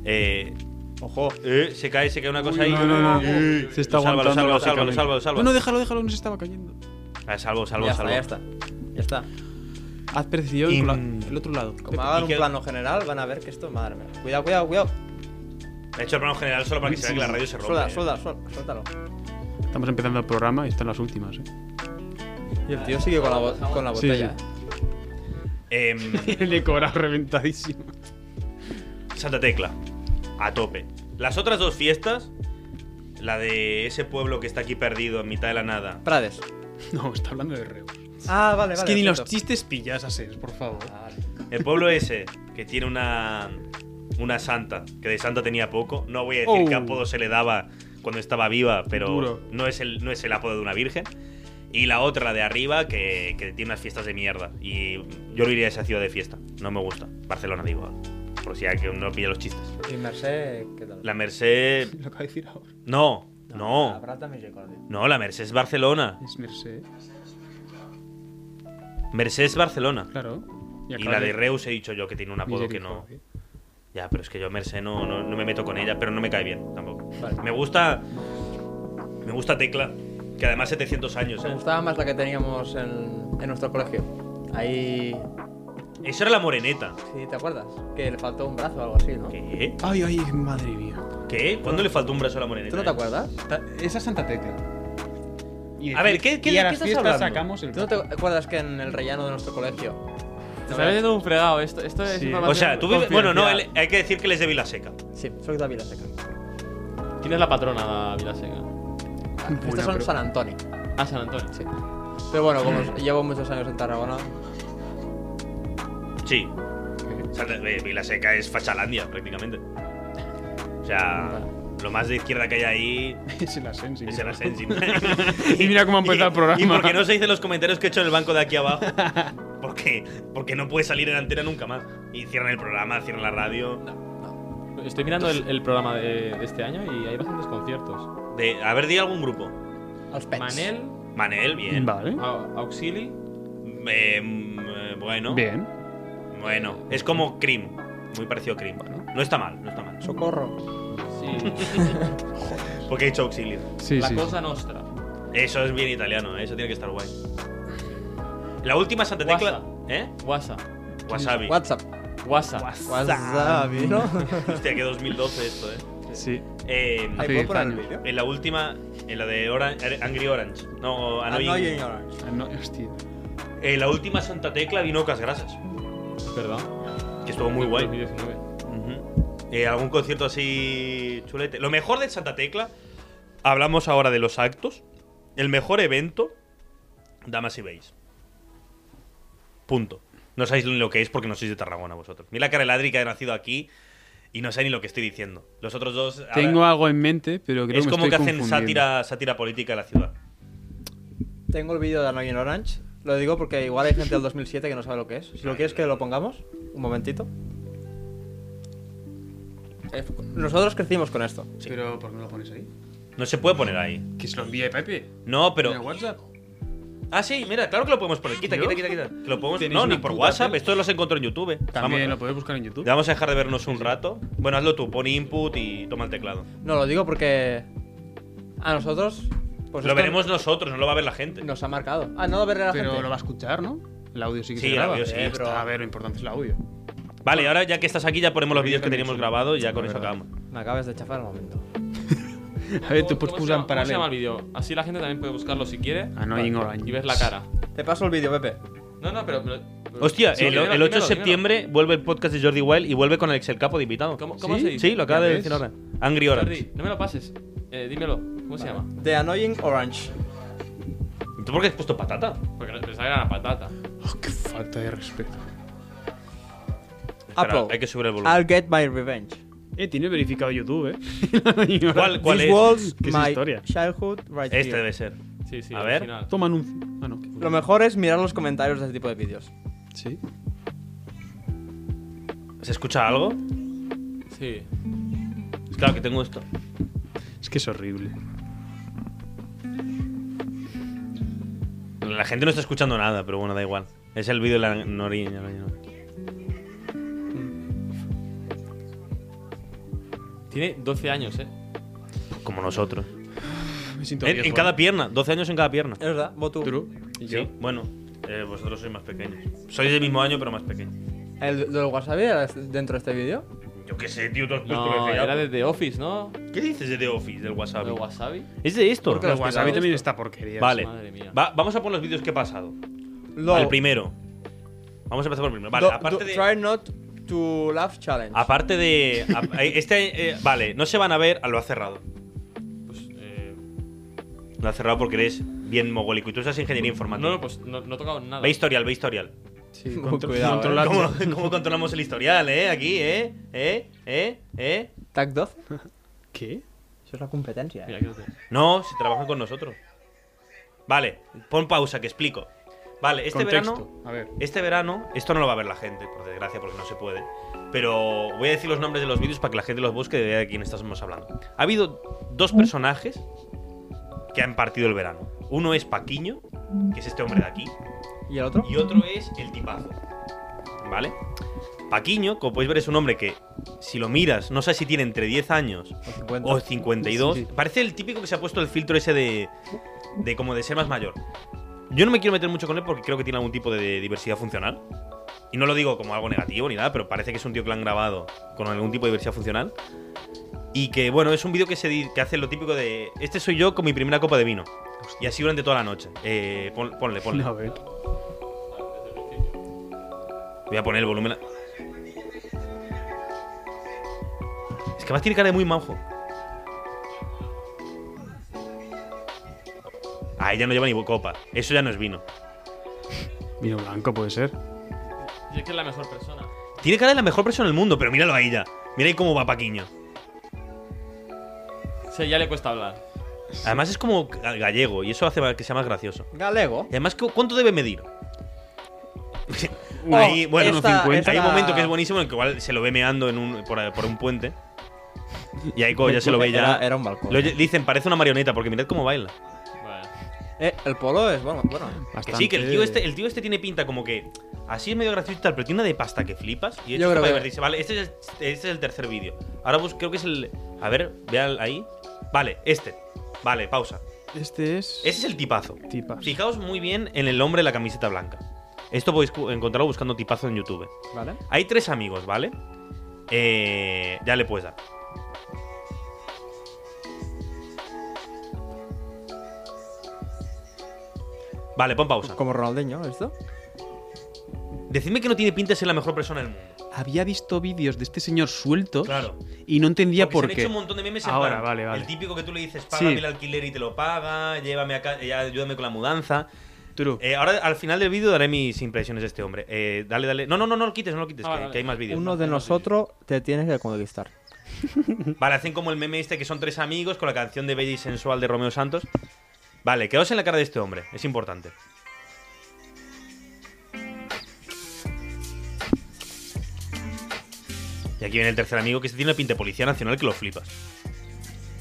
A: Eh,
B: Ojo.
A: eh, se cae, se cae una cosa ahí.
C: No, no, no.
A: Eh,
C: Se está
A: lo salva, lo salva, lo
C: aguantando.
A: salva,
C: lógicamente.
A: lo salva, lo salva.
C: No, no, déjalo, déjalo, no se estaba cayendo.
A: Ah, salvo, salvo,
B: ya
A: salvo.
B: está, ya está. Ya está.
C: Haz precisión
A: Y- mm.
C: con la- el otro lado.
B: Como hagan
A: ¿y
B: un
A: qué-
B: plano general, van a ver que esto, madre mía. Cuidado, cuidado, cuidado.
A: He hecho el plano general solo para que se vea que la radio se rompe.
B: Suelda,
A: eh.
B: suelda, suelda, suéltalo.
C: Estamos empezando el programa y están las últimas, ¿eh?
B: Y el tío sigue con la, bo- con la
C: Sí,
B: botella.
C: sí.
A: Em,
C: El Ecora reventadísimo.
A: Santa Tecla, a tope. Las otras dos fiestas, la de ese pueblo que está aquí perdido en mitad de la nada.
B: Prades.
C: No, está hablando de reos.
B: Ah, vale, vale.
C: es que ni los
B: cierto.
C: chistes pillas a ser, por favor.
A: El pueblo ese, que tiene una, una santa, que de santa tenía poco. No voy a decir
C: Oh.
A: qué apodo se le daba cuando estaba viva, pero
C: Duro.
A: no es, el, no es el apodo de una virgen. Y la otra, la de arriba, que, que tiene unas fiestas de mierda. Y yo no iría a esa ciudad de fiesta. No me gusta. Barcelona, digo. Por si hay que no pilla los chistes.
B: Y Mercé, ¿qué tal?
A: La Merced.
C: Lo acabo de decir ahora.
A: No, no.
B: Abrata misericordia.
A: No, la Merced es Barcelona.
C: Es Merced,
A: Merced es Barcelona.
C: claro.
A: Y
C: acaba
A: la de Reus he dicho yo que tiene un apodo que no.
C: Misericordia.
A: Ya, pero es que yo Merced no, no, no me meto con ella, pero no me cae bien tampoco.
B: Vale.
A: Me gusta. Me gusta Tecla, que además 700 años,
B: Me
A: ¿eh?
B: gustaba más la que teníamos en, en nuestro colegio. Ahí.
A: Eso era la moreneta.
B: Sí, ¿te acuerdas? Que le faltó un brazo o algo así, ¿no?
A: ¿Qué?
C: Ay, ay, madre mía.
A: ¿Qué? ¿Cuándo le faltó un brazo a la moreneta?
B: ¿Tú no te
A: eh?
B: acuerdas?
C: Ta- Esa Santa Tecla. Y
A: A ver, ¿qué- qué-
C: y
A: de
C: a
A: qué
C: las
A: estás
C: fiestas
A: hablando?
C: sacamos el
B: ¿Tú no te acuerdas que en el rellano de nuestro colegio?
D: Te está vendiendo un fregado. Esto, esto es
C: Sí.
A: O sea, tú vives. Bueno, no, él-
D: confidencial.
A: hay que decir que él es de Vilaseca.
B: Sí, soy David Seca.
D: ¿Quién es la patrona de Vilaseca?
B: Estos son San Antonio.
D: Ah, San Antonio.
B: Sí. Pero bueno, como llevo muchos años en Tarragona,
A: Sí. O sea, eh, Vilaseca es Fachalandia, prácticamente. O sea, lo más de izquierda que hay ahí
C: Es el Asensi.
A: es el Ascension.
C: Y mira cómo ha empezado el programa.
A: Y porque no se dicen los comentarios que he hecho en el banco de aquí abajo. Porque, porque no puede salir en antena nunca más. Y cierran el programa, cierran la radio.
D: Estoy mirando el, el programa de, de este año y hay bastantes conciertos.
A: De, a ver, di algún grupo.
B: los pets.
D: Manel,
A: Manel, bien.
C: Vale.
D: Au- Auxili.
A: Eh, mm, eh, bueno.
C: Bien.
A: Bueno. Es como Cream. Muy parecido a Cream. No está mal, no está mal.
B: Socorro.
D: Sí.
A: Porque he dicho auxilio.
C: Sí,
D: la
C: sí.
D: cosa nostra.
A: Eso es bien italiano, ¿eh? eso tiene que estar guay. La última Santa Tecla.
D: Guasa.
A: ¿Eh?
D: Guasa.
A: Wasabi.
B: WhatsApp.
D: Guasa.
B: WhatsApp. ¿No?
A: Hostia, que 2012 esto, ¿eh?
C: Sí.
A: Eh,
B: Ahí
C: Sí,
B: puedo poner el
C: años.
B: vídeo.
A: En la última, en la de Oran- Angry Orange. No, Annoying.
B: Annoying Orange.
C: Ah, No, hostia.
A: En la última Santa Tecla vino Ocas Grasas,
D: Es verdad.
A: que estuvo muy guay.
D: 2019.
A: Ujú. Eh, algún concierto así chulete. Lo mejor de Santa Tecla, hablamos ahora de los actos. El mejor evento, damas y veis. Punto. No sabéis lo que es porque no sois de Tarragona vosotros. Mira la cara de Ladri que ha nacido aquí y no sé ni lo que estoy diciendo. Los otros dos. ahora,
C: Tengo algo en mente, pero creo
A: es
C: que me
A: como
C: estoy
A: que hacen
C: confundiendo.
A: sátira, sátira política de la ciudad.
B: Tengo el vídeo de Annoying Orange. Lo digo porque igual hay gente del 2007 que no sabe lo que es. Si lo quieres que lo pongamos, un momentito. Eh, Nosotros crecimos con esto.
C: Pero ¿por qué no lo pones ahí?
A: No se puede poner ahí.
C: Que se lo envíe Pepe.
A: No,
C: ¿En el
A: pero.
C: WhatsApp?
A: Ah, sí, mira, claro que lo podemos poner. Quita,
C: Tío.
A: quita, quita, quita. Que lo podemos...
C: Tenéis
A: No,
C: una
A: ni por
C: puta
A: WhatsApp.
C: tele.
A: Esto los encontró en YouTube. eh.
C: También lo
A: Vamos,
C: podéis buscar en YouTube.
A: le vamos a dejar de vernos un rato. Bueno, hazlo tú. Pon input y toma el teclado.
B: No, lo digo porque a nosotros pues
A: lo
B: esto
A: veremos nosotros, no lo va a ver la gente.
B: nos ha marcado. Ah, no lo veré la
C: Pero
B: gente.
C: lo va a escuchar, ¿no? El audio sí que
A: Sí,
C: se
A: el
C: graba.
A: audio sí,
C: Eh,
A: pero-
C: está, A ver, lo importante es el audio.
A: Vale, y ahora ya que estás aquí, ya ponemos los vídeos que
C: también
A: teníamos
C: soy-
A: grabados y ya
C: la
A: con eso
C: verdad.
A: acabamos.
B: Me acabas de chafar un momento.
C: A ver, tú puedes
D: ¿Cómo- cómo se
C: usar
D: llama-
C: en
D: ¿Cómo se llama el
C: paralelo.
D: vídeo? Así la gente también puede buscarlo si quiere.
A: Ah,
C: Annoying Orange.
D: Y ves la cara.
B: Te paso el vídeo, Pepe.
D: No, no, pero. pero- pero-
A: Hostia,
D: Sí,
A: el,
D: dímelo,
A: el 8 de
D: dímelo,
A: septiembre vuelve el podcast de Jordi Wild y vuelve con Alex el Capo de invitado.
D: ¿Cómo- cómo
A: ¿Sí?
D: se dice?
A: Sí, lo acaba
C: Ya
A: de
C: ves.
A: decir ahora. Angry
D: dímelo.
A: Orange.
D: Jordi, no me lo pases. Eh, dímelo. ¿Cómo se llama?
B: The Annoying Orange.
A: ¿Tú por qué has puesto patata?
D: Porque pensaba que era una patata.
C: Oh, qué falta de respeto.
A: Espera,
B: Apple.
A: hay que subir el volumen.
B: I'll get my revenge.
C: Eh, tiene verificado YouTube, ¿eh?
A: ¿Cuál, cuál
B: This
A: es?
B: was
C: ¿Qué es
B: my
C: historia?
B: childhood right
A: Este
B: here.
A: debe ser.
D: Sí, sí.
A: A
D: al
A: ver.
D: final.
C: Toma anuncio. Ah, no.
B: Lo mejor es mirar los comentarios de este tipo de vídeos.
C: Sí.
A: ¿Se escucha algo?
D: Sí.
A: Claro que tengo esto.
C: Es que es horrible.
A: La gente no está escuchando nada, pero bueno, da igual. Es el vídeo de la Noriña.
D: Tiene 12 años, eh.
A: Como nosotros.
C: Me siento ¿eh?
A: En, en cada pierna, 12 años en cada pierna.
B: Es verdad, Botu.
C: True. ¿Y yo?
A: Sí, bueno, eh, vosotros sois más pequeños. Sois del mismo año, pero más pequeños.
B: ¿El del wasabi era dentro de este vídeo?
A: Yo qué sé, tío, tú has puesto
D: No,
A: Pues que sea-
D: era de The Office, ¿no?
A: ¿Qué dices de The Office, del WhatsApp?
D: De Wasabi.
A: ¿Es de esto?
B: Porque
C: Pero
B: lo has
C: WhatsApp
B: tirado
C: también está porquería.
A: Vale.
D: Madre mía.
A: Va- vamos a poner los vídeos que he pasado.
B: Lo-
A: Al primero. Vamos a empezar por el primero. Vale,
B: do-
A: aparte
B: do-
A: de. Ah,
B: Try not to laugh challenge.
A: Aparte de. a- este. eh, vale, no se van a ver, lo ha cerrado.
D: Pues, eh,
A: Lo ha cerrado porque eres bien mogólico y tú estás ingeniería informática.
D: no, no, pues no, no he tocado nada.
A: Ve historial, ve historial.
C: Sí,
B: Con
C: contro-
B: cuidado, ¿eh?
C: controlar-
A: ¿Cómo, cómo controlamos el historial, eh? Aquí, eh, eh, eh, eh.
B: Tag 12.
C: ¿Qué?
B: Eso es la competencia,
D: Mira,
B: eh.
D: aquí lo tengo.
A: No, si trabajan con nosotros. Vale, pon pausa, que explico. Vale, este
C: Contexto.
A: verano
C: A ver.
A: Este verano, esto no lo va a ver la gente, por desgracia, porque no se puede. Pero voy a decir los nombres de los vídeos para que la gente los busque y vea de quién estamos hablando. Ha habido dos personajes que han partido el verano. Uno es Paquiño, que es este hombre de aquí,
B: ¿Y el otro?
A: y otro es el tipazo. ¿Vale? Paquiño, como podéis ver, es un hombre que, si lo miras, no sé si tiene entre 10 años
B: O 50.
A: o 52.
C: Sí, sí.
A: Parece el típico que se ha puesto el filtro ese de, de como de ser más mayor. Yo no me quiero meter mucho con él porque creo que tiene algún tipo de diversidad funcional. Y no lo digo como algo negativo ni nada, pero parece que es un tío que lo han grabado con algún tipo de diversidad funcional. Y que, bueno, es un vídeo que, se di- que hace lo típico de... Este soy yo con mi primera copa de vino. Y así durante toda la noche. Eh, pon- ponle, ponle.
C: A ver.
A: Voy a poner el volumen. a- Es que más tiene cara de muy manjo. Ah, ella no lleva ni copa. Eso ya no es vino.
C: Vino blanco puede ser.
D: Y es que es la mejor persona.
A: Tiene cara de la mejor persona del mundo, pero míralo a ella. Mira ahí cómo va Paquiño.
D: O sea, ya le cuesta hablar.
A: Además es como gallego y eso hace que sea más gracioso.
B: Galego.
A: Y además, ¿cu- ¿cuánto debe medir?
B: Oh,
A: ahí, bueno,
B: esta-
C: 1,50.
A: hay
B: esta-
A: un momento que es buenísimo en el que igual se lo ve meando en un, por, por un puente. Y ahí como ya se lo ve ya.
B: Era, era un balcón.
A: Lo lle- dicen, parece una marioneta, porque mirad cómo baila.
D: Vale.
B: Eh, el polo es bueno, bueno. eh.
A: Que sí, que el tío, este, el tío este tiene pinta como que. Así es medio gracioso y tal, pero tiene una de pasta que flipas. Y de hecho está
B: Yo creo
A: para
B: que-
A: divertirse. Vale, este es, el, este es el tercer vídeo. Ahora bus- creo que es el. A ver, vean ahí. Vale, este. Vale, pausa.
C: Este es.
A: Ese es el tipazo.
C: Tipas.
A: Fijaos muy bien en el hombre de la camiseta blanca. Esto podéis cu- encontrarlo buscando tipazo en YouTube.
B: Vale.
A: Hay tres amigos, ¿vale? Eh, ya le puedes dar. Vale, pon pausa.
B: pues, Como Ronaldinho, ¿esto?
A: Decidme que no tiene pinta de ser la mejor persona del mundo.
C: Había visto vídeos de este señor suelto
A: Claro.
C: y no entendía
A: Porque
C: por
A: se han
C: qué.
A: hecho un montón de memes en
C: Ahora,
A: plan,
C: vale, vale.
A: El típico que tú le dices, págame
C: Sí.
A: eh, el alquiler y te lo paga, llévame acá, ayúdame con la mudanza.
C: True.
A: Eh, ahora al final del vídeo daré mis impresiones de este hombre. Eh, dale, dale. No, no, no, no lo quites, no lo quites,
D: Ah,
A: que,
D: vale,
A: que hay más vídeos. Eh,
B: Uno de nosotros te tiene que conquistar.
A: Vale, hacen como el meme este que son tres amigos con la canción de Bella y Sensual de Romeo Santos. Vale, quedaos en la cara de este hombre, es importante. Y aquí viene el tercer amigo que se tiene una pinta de policía nacional que lo flipas.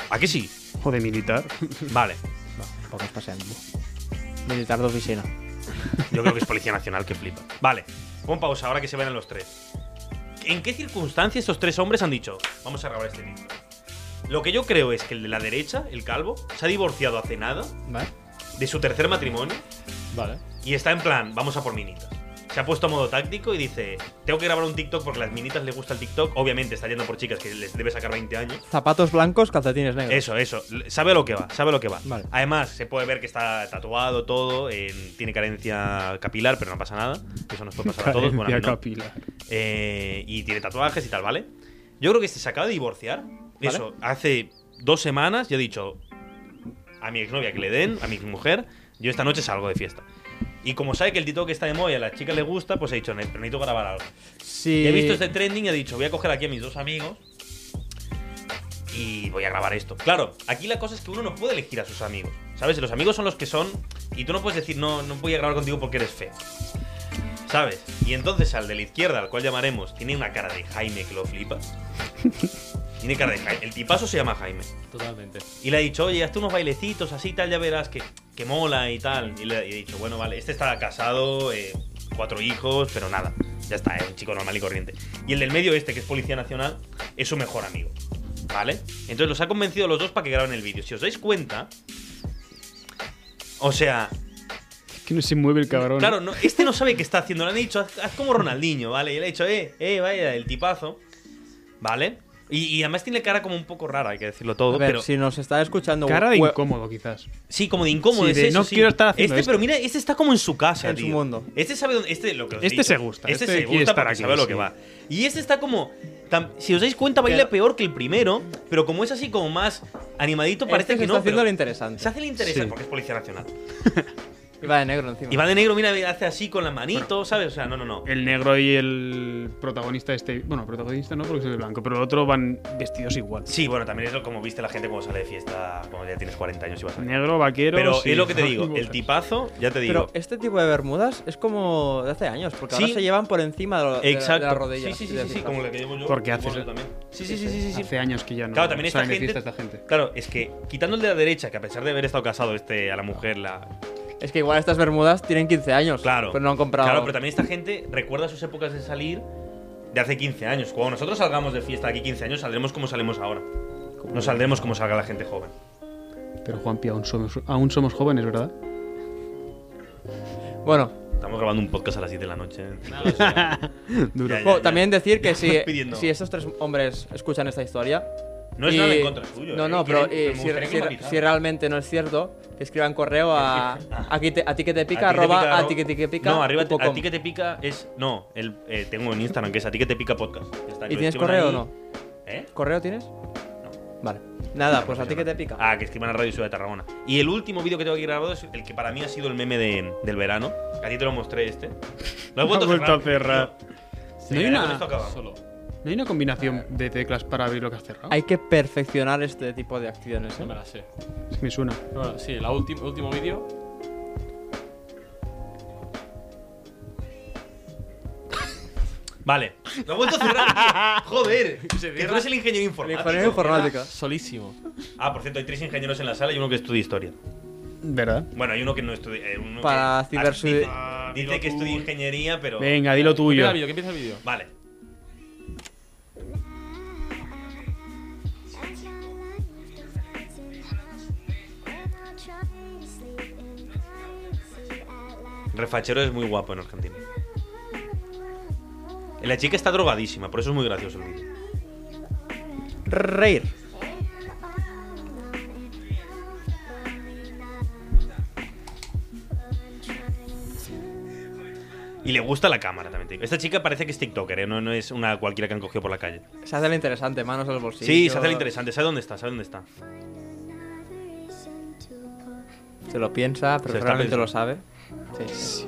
A: ¿A que sí?
C: O de militar.
A: Vale,
B: No, tampoco es paseando. Militar de oficina.
A: yo creo que es policía nacional que flipa. Vale, pon pausa ahora que se ven los tres. ¿En qué circunstancias estos tres hombres han dicho, vamos a grabar este vídeo? Lo que yo creo es que el de la derecha, el calvo, se ha divorciado hace nada
H: Vale.
A: de su tercer matrimonio
H: Vale.
A: y está en plan, vamos a por minitas. Se ha puesto a modo táctico y dice, tengo que grabar un TikTok porque a las minitas le gusta el TikTok. Obviamente está yendo por chicas que les debe sacar 20 años.
B: Zapatos blancos, calcetines negros.
A: Eso, eso. L- Sabe a lo que va, sabe a lo que va.
B: Vale.
A: Además, se puede ver que está tatuado todo, en- tiene carencia capilar, pero no pasa nada. Eso nos puede pasar a todos. Bueno, a mí no.
C: capilar.
A: Eh, y tiene tatuajes y tal, ¿vale? Yo creo que este se acaba de divorciar. Eso, hace dos semanas yo he dicho a mi exnovia que le den, a mi mujer, yo esta noche salgo de fiesta. Y como sabe que el TikTok está de moda y a las chicas les gusta, pues he dicho, "Ne- pero necesito grabar algo.
B: Sí.
A: Y he visto este trending y he dicho, voy a coger aquí a mis dos amigos y voy a grabar esto. Claro, aquí la cosa es que uno no puede elegir a sus amigos. ¿Sabes? Los amigos son los que son y tú no puedes decir, no, no voy a grabar contigo porque eres feo. ¿Sabes? Y entonces al de la izquierda, al cual llamaremos, tiene una cara de Jaime que lo flipa. tiene cara de Jaime. El tipazo se llama Jaime.
D: Totalmente.
A: Y le ha dicho, oye, hazte unos bailecitos así tal, ya verás que, que mola y tal. Y le he dicho, bueno, vale, este está casado, eh, cuatro hijos, pero nada. Ya está, es un chico normal y corriente. Y el del medio este, que es Policía Nacional, es su mejor amigo. ¿Vale? Entonces los ha convencido a los dos para que graben el vídeo. Si os dais cuenta... O sea,
C: Que no se mueve el cabrón.
A: Claro, no- este no sabe qué está haciendo. Le han dicho, haz, haz como Ronaldinho, ¿vale? Y le ha dicho, eh, eh, vaya, el tipazo. ¿Vale? Y, y además tiene cara como un poco rara, hay que decirlo todo.
B: A ver,
A: pero
B: si nos está escuchando.
C: Cara de
B: hue-
C: incómodo, quizás.
A: sí, como de incómodo.
C: Sí,
A: es
C: de,
A: eso,
C: "No
A: sí".
C: quiero estar haciendo
A: Este,
C: esto.
A: pero mira, este está como en su casa,
B: En su
A: tío.
B: mundo.
A: Este sabe dónde. Este, lo que os he
C: Este
A: dicho.
C: se gusta,
A: Este,
C: este
A: se
C: quiere
A: gusta
C: estar
A: porque
C: aquí,
A: sabe lo
C: sí.
A: que va. Y este está como. tam- si os dais cuenta, baila
B: Pero-
A: peor que el primero, pero como es así como más animadito, parece
B: este se
A: que
B: está
A: no.
B: haciendo
A: pero
B: lo interesante.
A: se hace el interesante
C: Sí.
A: porque es Policía Nacional.
B: Y va de negro encima.
A: Y va de negro, mira, hace así con la manito, ¿sabes? O sea, no, no, no.
C: El negro y el protagonista este. Bueno, protagonista no, porque es el blanco. Pero el otro van vestidos igual.
A: Sí, bueno, también es lo- como viste la gente cuando sale de fiesta, cuando ya tienes 40 años y vas a
C: Negro, vaquero.
A: Pero
C: sí.
A: es lo que te digo, el
C: Botas.
A: tipazo, ya te digo.
B: Pero este tipo de bermudas es como de hace años, porque
A: Sí.
B: ahora se llevan por encima de, lo- de la- de
A: Exacto.
B: la rodilla.
A: sí, sí,
B: y
A: sí,
B: de
A: sí, sí,
B: la
A: como la que llevo yo.
C: Porque
A: supongo
C: haces-
A: que también. Sí, sí, sí, sí, sí, sí.
C: Hace años que ya no.
A: Claro, también esta
C: salen de
A: gente,
C: fiesta esta gente.
A: Claro, es que quitando el de la derecha, que a pesar de haber estado casado este a la mujer, la
B: pizarra. Es que igual estas bermudas tienen 15 años.
A: Claro.
B: Pero no han comprado.
A: Claro, pero también esta gente recuerda sus épocas de salir de hace 15 años. Cuando nosotros salgamos de fiesta de aquí 15 años, saldremos como salimos ahora. No saldremos como salga la gente joven.
C: Pero Juanpi, aún somos, aún somos jóvenes, ¿verdad?
B: Bueno,
A: Estamos grabando un podcast a las 7 de la noche.
C: Duro.
A: Ya, ya,
B: bueno,
A: ya.
B: Oh, también decir que
A: Ya
B: si,
A: estás pidiendo.
B: si estos tres hombres escuchan esta historia.
A: No es
B: y-
A: nada en contra suyo.
B: No,
A: eh,
B: no, pero
A: quieren- me
B: eh, si,
A: gustaría que
B: si-
A: me avisaran.
B: si realmente no es cierto, que escriban correo a, a, qui- a ti que
A: A ti
B: te pica,
A: que te
B: arroba
A: pica,
B: a ti que te pica.
A: No, arriba
B: punto
A: a
B: com.
A: ti que te pica es. No, el, eh, tengo en Instagram que es a ti que te pica podcast. Ya está, que
B: ¿Y
A: lo
B: tienes
A: escriban
B: correo o
A: ahí.
B: no?
A: ¿Eh?
B: ¿Correo tienes?
A: No.
B: Vale. Nada, pues a ti que te pica.
A: Ah, que escriban a Radio Ciudad de Tarragona. Y el último vídeo que tengo aquí grabado es el que para mí ha sido el meme de- del verano. A ti te lo mostré este. Lo he vuelto,
C: Lo he vuelto a cerrar.
A: tío.
C: No hay
A: ya
C: una-
A: con esto acabamos.
C: ¿No hay una combinación de teclas para abrir lo que has cerrado?
B: Hay que perfeccionar este tipo de acciones.
D: No
B: ¿eh?
D: me la sé.
C: Sí, me suena.
D: Pero bueno, sí, el último, último vídeo.
A: Vale. Lo he vuelto a cerrar. tío. Joder. Que tú eres el ingeniero
B: El
A: informático.
B: ingeniero informático.
D: Solísimo.
A: Ah, por cierto, hay tres ingenieros en la sala y uno que estudia historia.
C: ¿Verdad?
A: Bueno, hay uno que no estudia. eh, uno
B: Para
A: que-
B: cibersu-
A: dice-
C: Ah,
A: Dice,
C: mira
A: que
C: tú.
A: estudia ingeniería, pero.
C: Venga, di lo
D: ¿Qué
C: tuyo.
D: empieza el vídeo? ¿Qué empieza el vídeo?
A: Vale. Refachero es muy guapo en Argentina. La chica está drogadísima, por eso es muy gracioso el vídeo.
B: Reír.
A: Y le gusta la cámara también. te digo. Esta chica parece que es TikToker, ¿eh? no, no es una cualquiera que han cogido por la calle.
B: Se hace lo interesante, manos al
A: Sí,
B: bolsillo.
A: se hace la interesante. ¿Sabe dónde está? ¿Sabe dónde está?
B: Se lo piensa, pero
A: Se está
B: realmente
A: pensando.
B: lo sabe. Sí.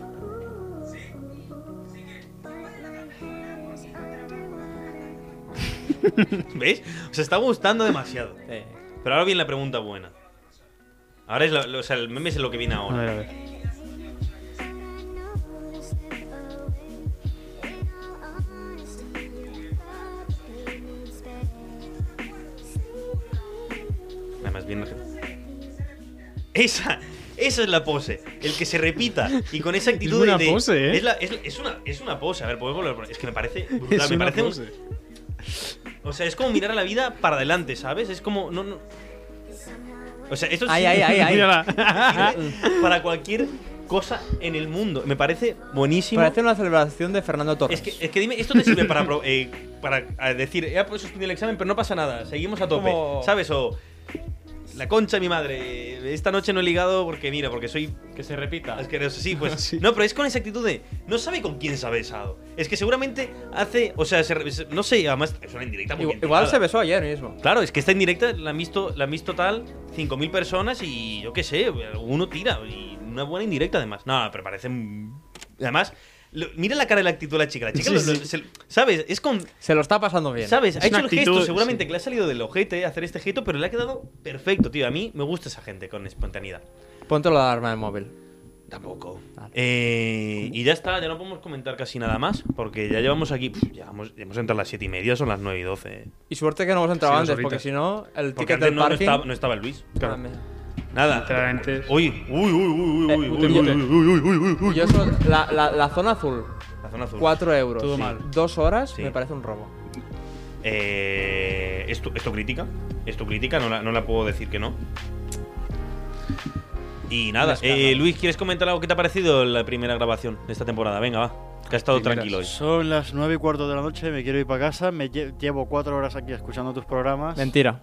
A: ¿Veis? Os está gustando demasiado.
B: Sí.
A: Pero ahora viene la pregunta buena. Ahora es lo, lo- o sea, el meme es lo que viene
C: A
A: ahora.
C: ver, a ver.
A: Además, bien. Esa, esa es la pose. El que se repita y con esa actitud
C: una
A: de- de-
C: pose, ¿eh?
A: Es, la- es, es una, es una pose. A ver, podemos volver. a poner- Es que me parece brutal.
C: Es
A: me
C: una
A: parece un-
C: pose.
A: o sea, es como mirar a la vida para adelante, ¿sabes? Es como. No, no. O sea, esto
B: Ay,
A: sirve-
B: ay, ay, ay.
C: Mírala.
A: sirve para cualquier cosa en el mundo. Me parece buenísimo.
B: Parece una celebración de Fernando Torres.
A: Es que, es que dime, esto te sirve para, pro- eh, para eh, decir, he suspendido el examen, pero no pasa nada, seguimos a tope.
B: Como-
A: ¿Sabes? O la concha de mi madre, esta noche no he ligado porque, mira, porque soy
D: Que se
B: Ah.
D: repita.
A: asqueroso. Sí, pues.
C: Sí.
A: No, pero es con esa actitud de, no sabe con quién se ha besado. Es que seguramente hace, o sea, se re- se- no sé, además es una indirecta muy
B: Igual,
A: bien
B: igual
A: tirada.
B: se besó ayer mismo.
A: Claro, es que esta indirecta la han visto, la han visto tal 5.000 personas y yo qué sé, uno tira. Y una buena indirecta además. No, pero parece... un- Además, lo- mira la cara de la actitud de la chica. La chica,
C: Sí,
A: lo- lo-
C: sí.
A: se- ¿sabes? Es con...
B: Se lo está pasando bien.
A: ¿Sabes?
C: Es
A: Ha hecho
C: una
A: el gesto,
C: actitud,
A: seguramente
C: sí.
A: que le ha salido del ojete hacer este gesto, pero le ha quedado perfecto, tío. A mí me gusta esa gente con espontaneidad.
B: Ponte la alarma del móvil.
A: Tampoco.
B: Vale.
A: Eh, y ya está, ya no podemos comentar casi nada más, porque ya llevamos aquí... pf, ya hemos, ya hemos entrado a las 7 y media, son las 9 y 12.
B: Y suerte que no hemos entrado
C: Sí,
B: antes,
C: ahorita.
B: porque si no, el
A: Porque
B: ticket
A: antes
B: del
A: no, no
B: parking.
A: estaba, no estaba el Luis.
C: Claro.
B: Ah, mira.
A: Nada.
C: Literalmente.
A: Uy, uy, uy, uy, uy, uy,
B: Eh,
A: uy,
B: yo-
A: uy, uy, uy, uy, uy, uy.
B: Y yo solo- la, la- la zona azul,
A: La zona azul.
B: 4 euros.
C: Todo
B: Sí.
C: mal.
B: Dos horas
A: Sí.
B: me parece un robo.
A: Eh, esto, esto crítica. Esto crítica, no la, no la puedo decir que no. Y nada, eh, Luis, ¿quieres comentar algo que te ha parecido la primera grabación de esta temporada? Venga, va. Que ha estado
C: Primeras.
A: tranquilo hoy.
G: Son las 9 y cuarto de la noche, me quiero ir para casa, me lle- llevo 4 horas aquí escuchando tus programas.
B: Mentira.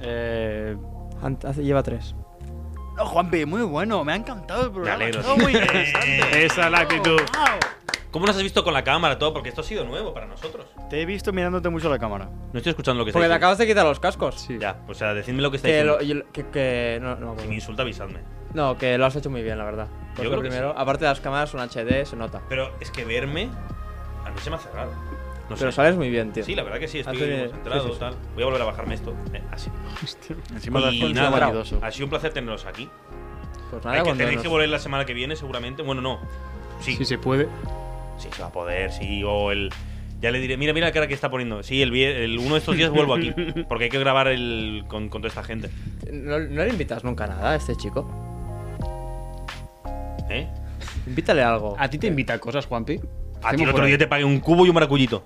G: Eh,
B: Ant- hace- lleva tres.
A: Pues
G: No, Juanpi, muy bueno, me ha encantado el programa.
A: alegro,
G: estaba
A: tío.
G: muy interesante.
C: Esa es la actitud.
A: ¿Cómo nos has visto con la cámara todo? Porque esto ha sido nuevo para nosotros.
G: Te he visto mirándote mucho la cámara.
A: No estoy escuchando lo que está
B: Porque te
A: diciendo.
B: acabas de quitar los cascos.
C: Sí.
A: Ya, pues, o sea, decidme lo que está
B: Que,
A: diciendo.
B: lo, y lo- que, que- no, no me
A: Si
B: acuerdo.
A: me insulta, avisadme.
B: No, que lo has hecho muy bien, la verdad. Pues
A: Yo
B: lo
A: creo que
B: primero, aparte las cámaras son HD, se nota.
A: Pero es que verme, a mí se me ha cerrado. No
B: Pero
A: sé.
B: sales muy bien, tío.
A: Sí, la verdad que sí, estoy
B: Hace-
A: concentrado,
B: sí, sí, sí.
A: tal. Voy a volver a bajarme esto. eh, así.
G: Encima
A: Y
G: de
A: nada,
G: vanidoso.
A: ha sido un placer tenerlos aquí.
B: Pues nada,
A: Hay que
B: cuando
A: tenéis
B: nos-
A: que volver la semana que viene, seguramente. Bueno, no. Sí,
C: Si
A: sí,
C: se puede.
A: se va a poder, sí. O el. Ya le diré, mira, mira la cara que está poniendo. Sí, el, vier- el uno de estos días vuelvo aquí. Porque hay que grabar el, con, con toda esta gente.
B: No, no le invitas nunca nada a este chico.
A: ¿Eh?
B: Invítale algo. Eh,
C: ¿A ti te invita a cosas, Juanpi?
A: A ti el otro día te pagué un cubo y un maracuyito.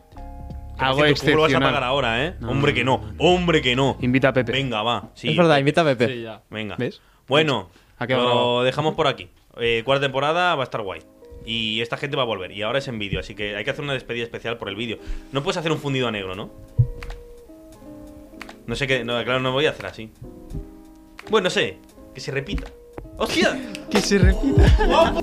C: Algo
A: Por cierto, el cubo lo vas a
C: excepcional.
A: pagar ahora, ¿eh?
C: No,
A: Hombre que no, hombre que no.
C: Invita a Pepe.
A: Venga, va. Sí,
B: es verdad, invita a Pepe.
D: Sí, ya.
A: Venga.
C: ¿Ves?
A: Bueno,
C: Ha quedado
A: lo
C: grabado.
A: dejamos por aquí. Eh, cuarta temporada va a estar guay. Y esta gente va a volver. Y ahora es en vídeo, así que hay que hacer una despedida especial por el vídeo. No puedes hacer un fundido a negro, ¿no? No sé qué. No, claro, no voy a hacer así. Bueno, no sé. Que se repita. ¡Hostia!
C: Que se repita.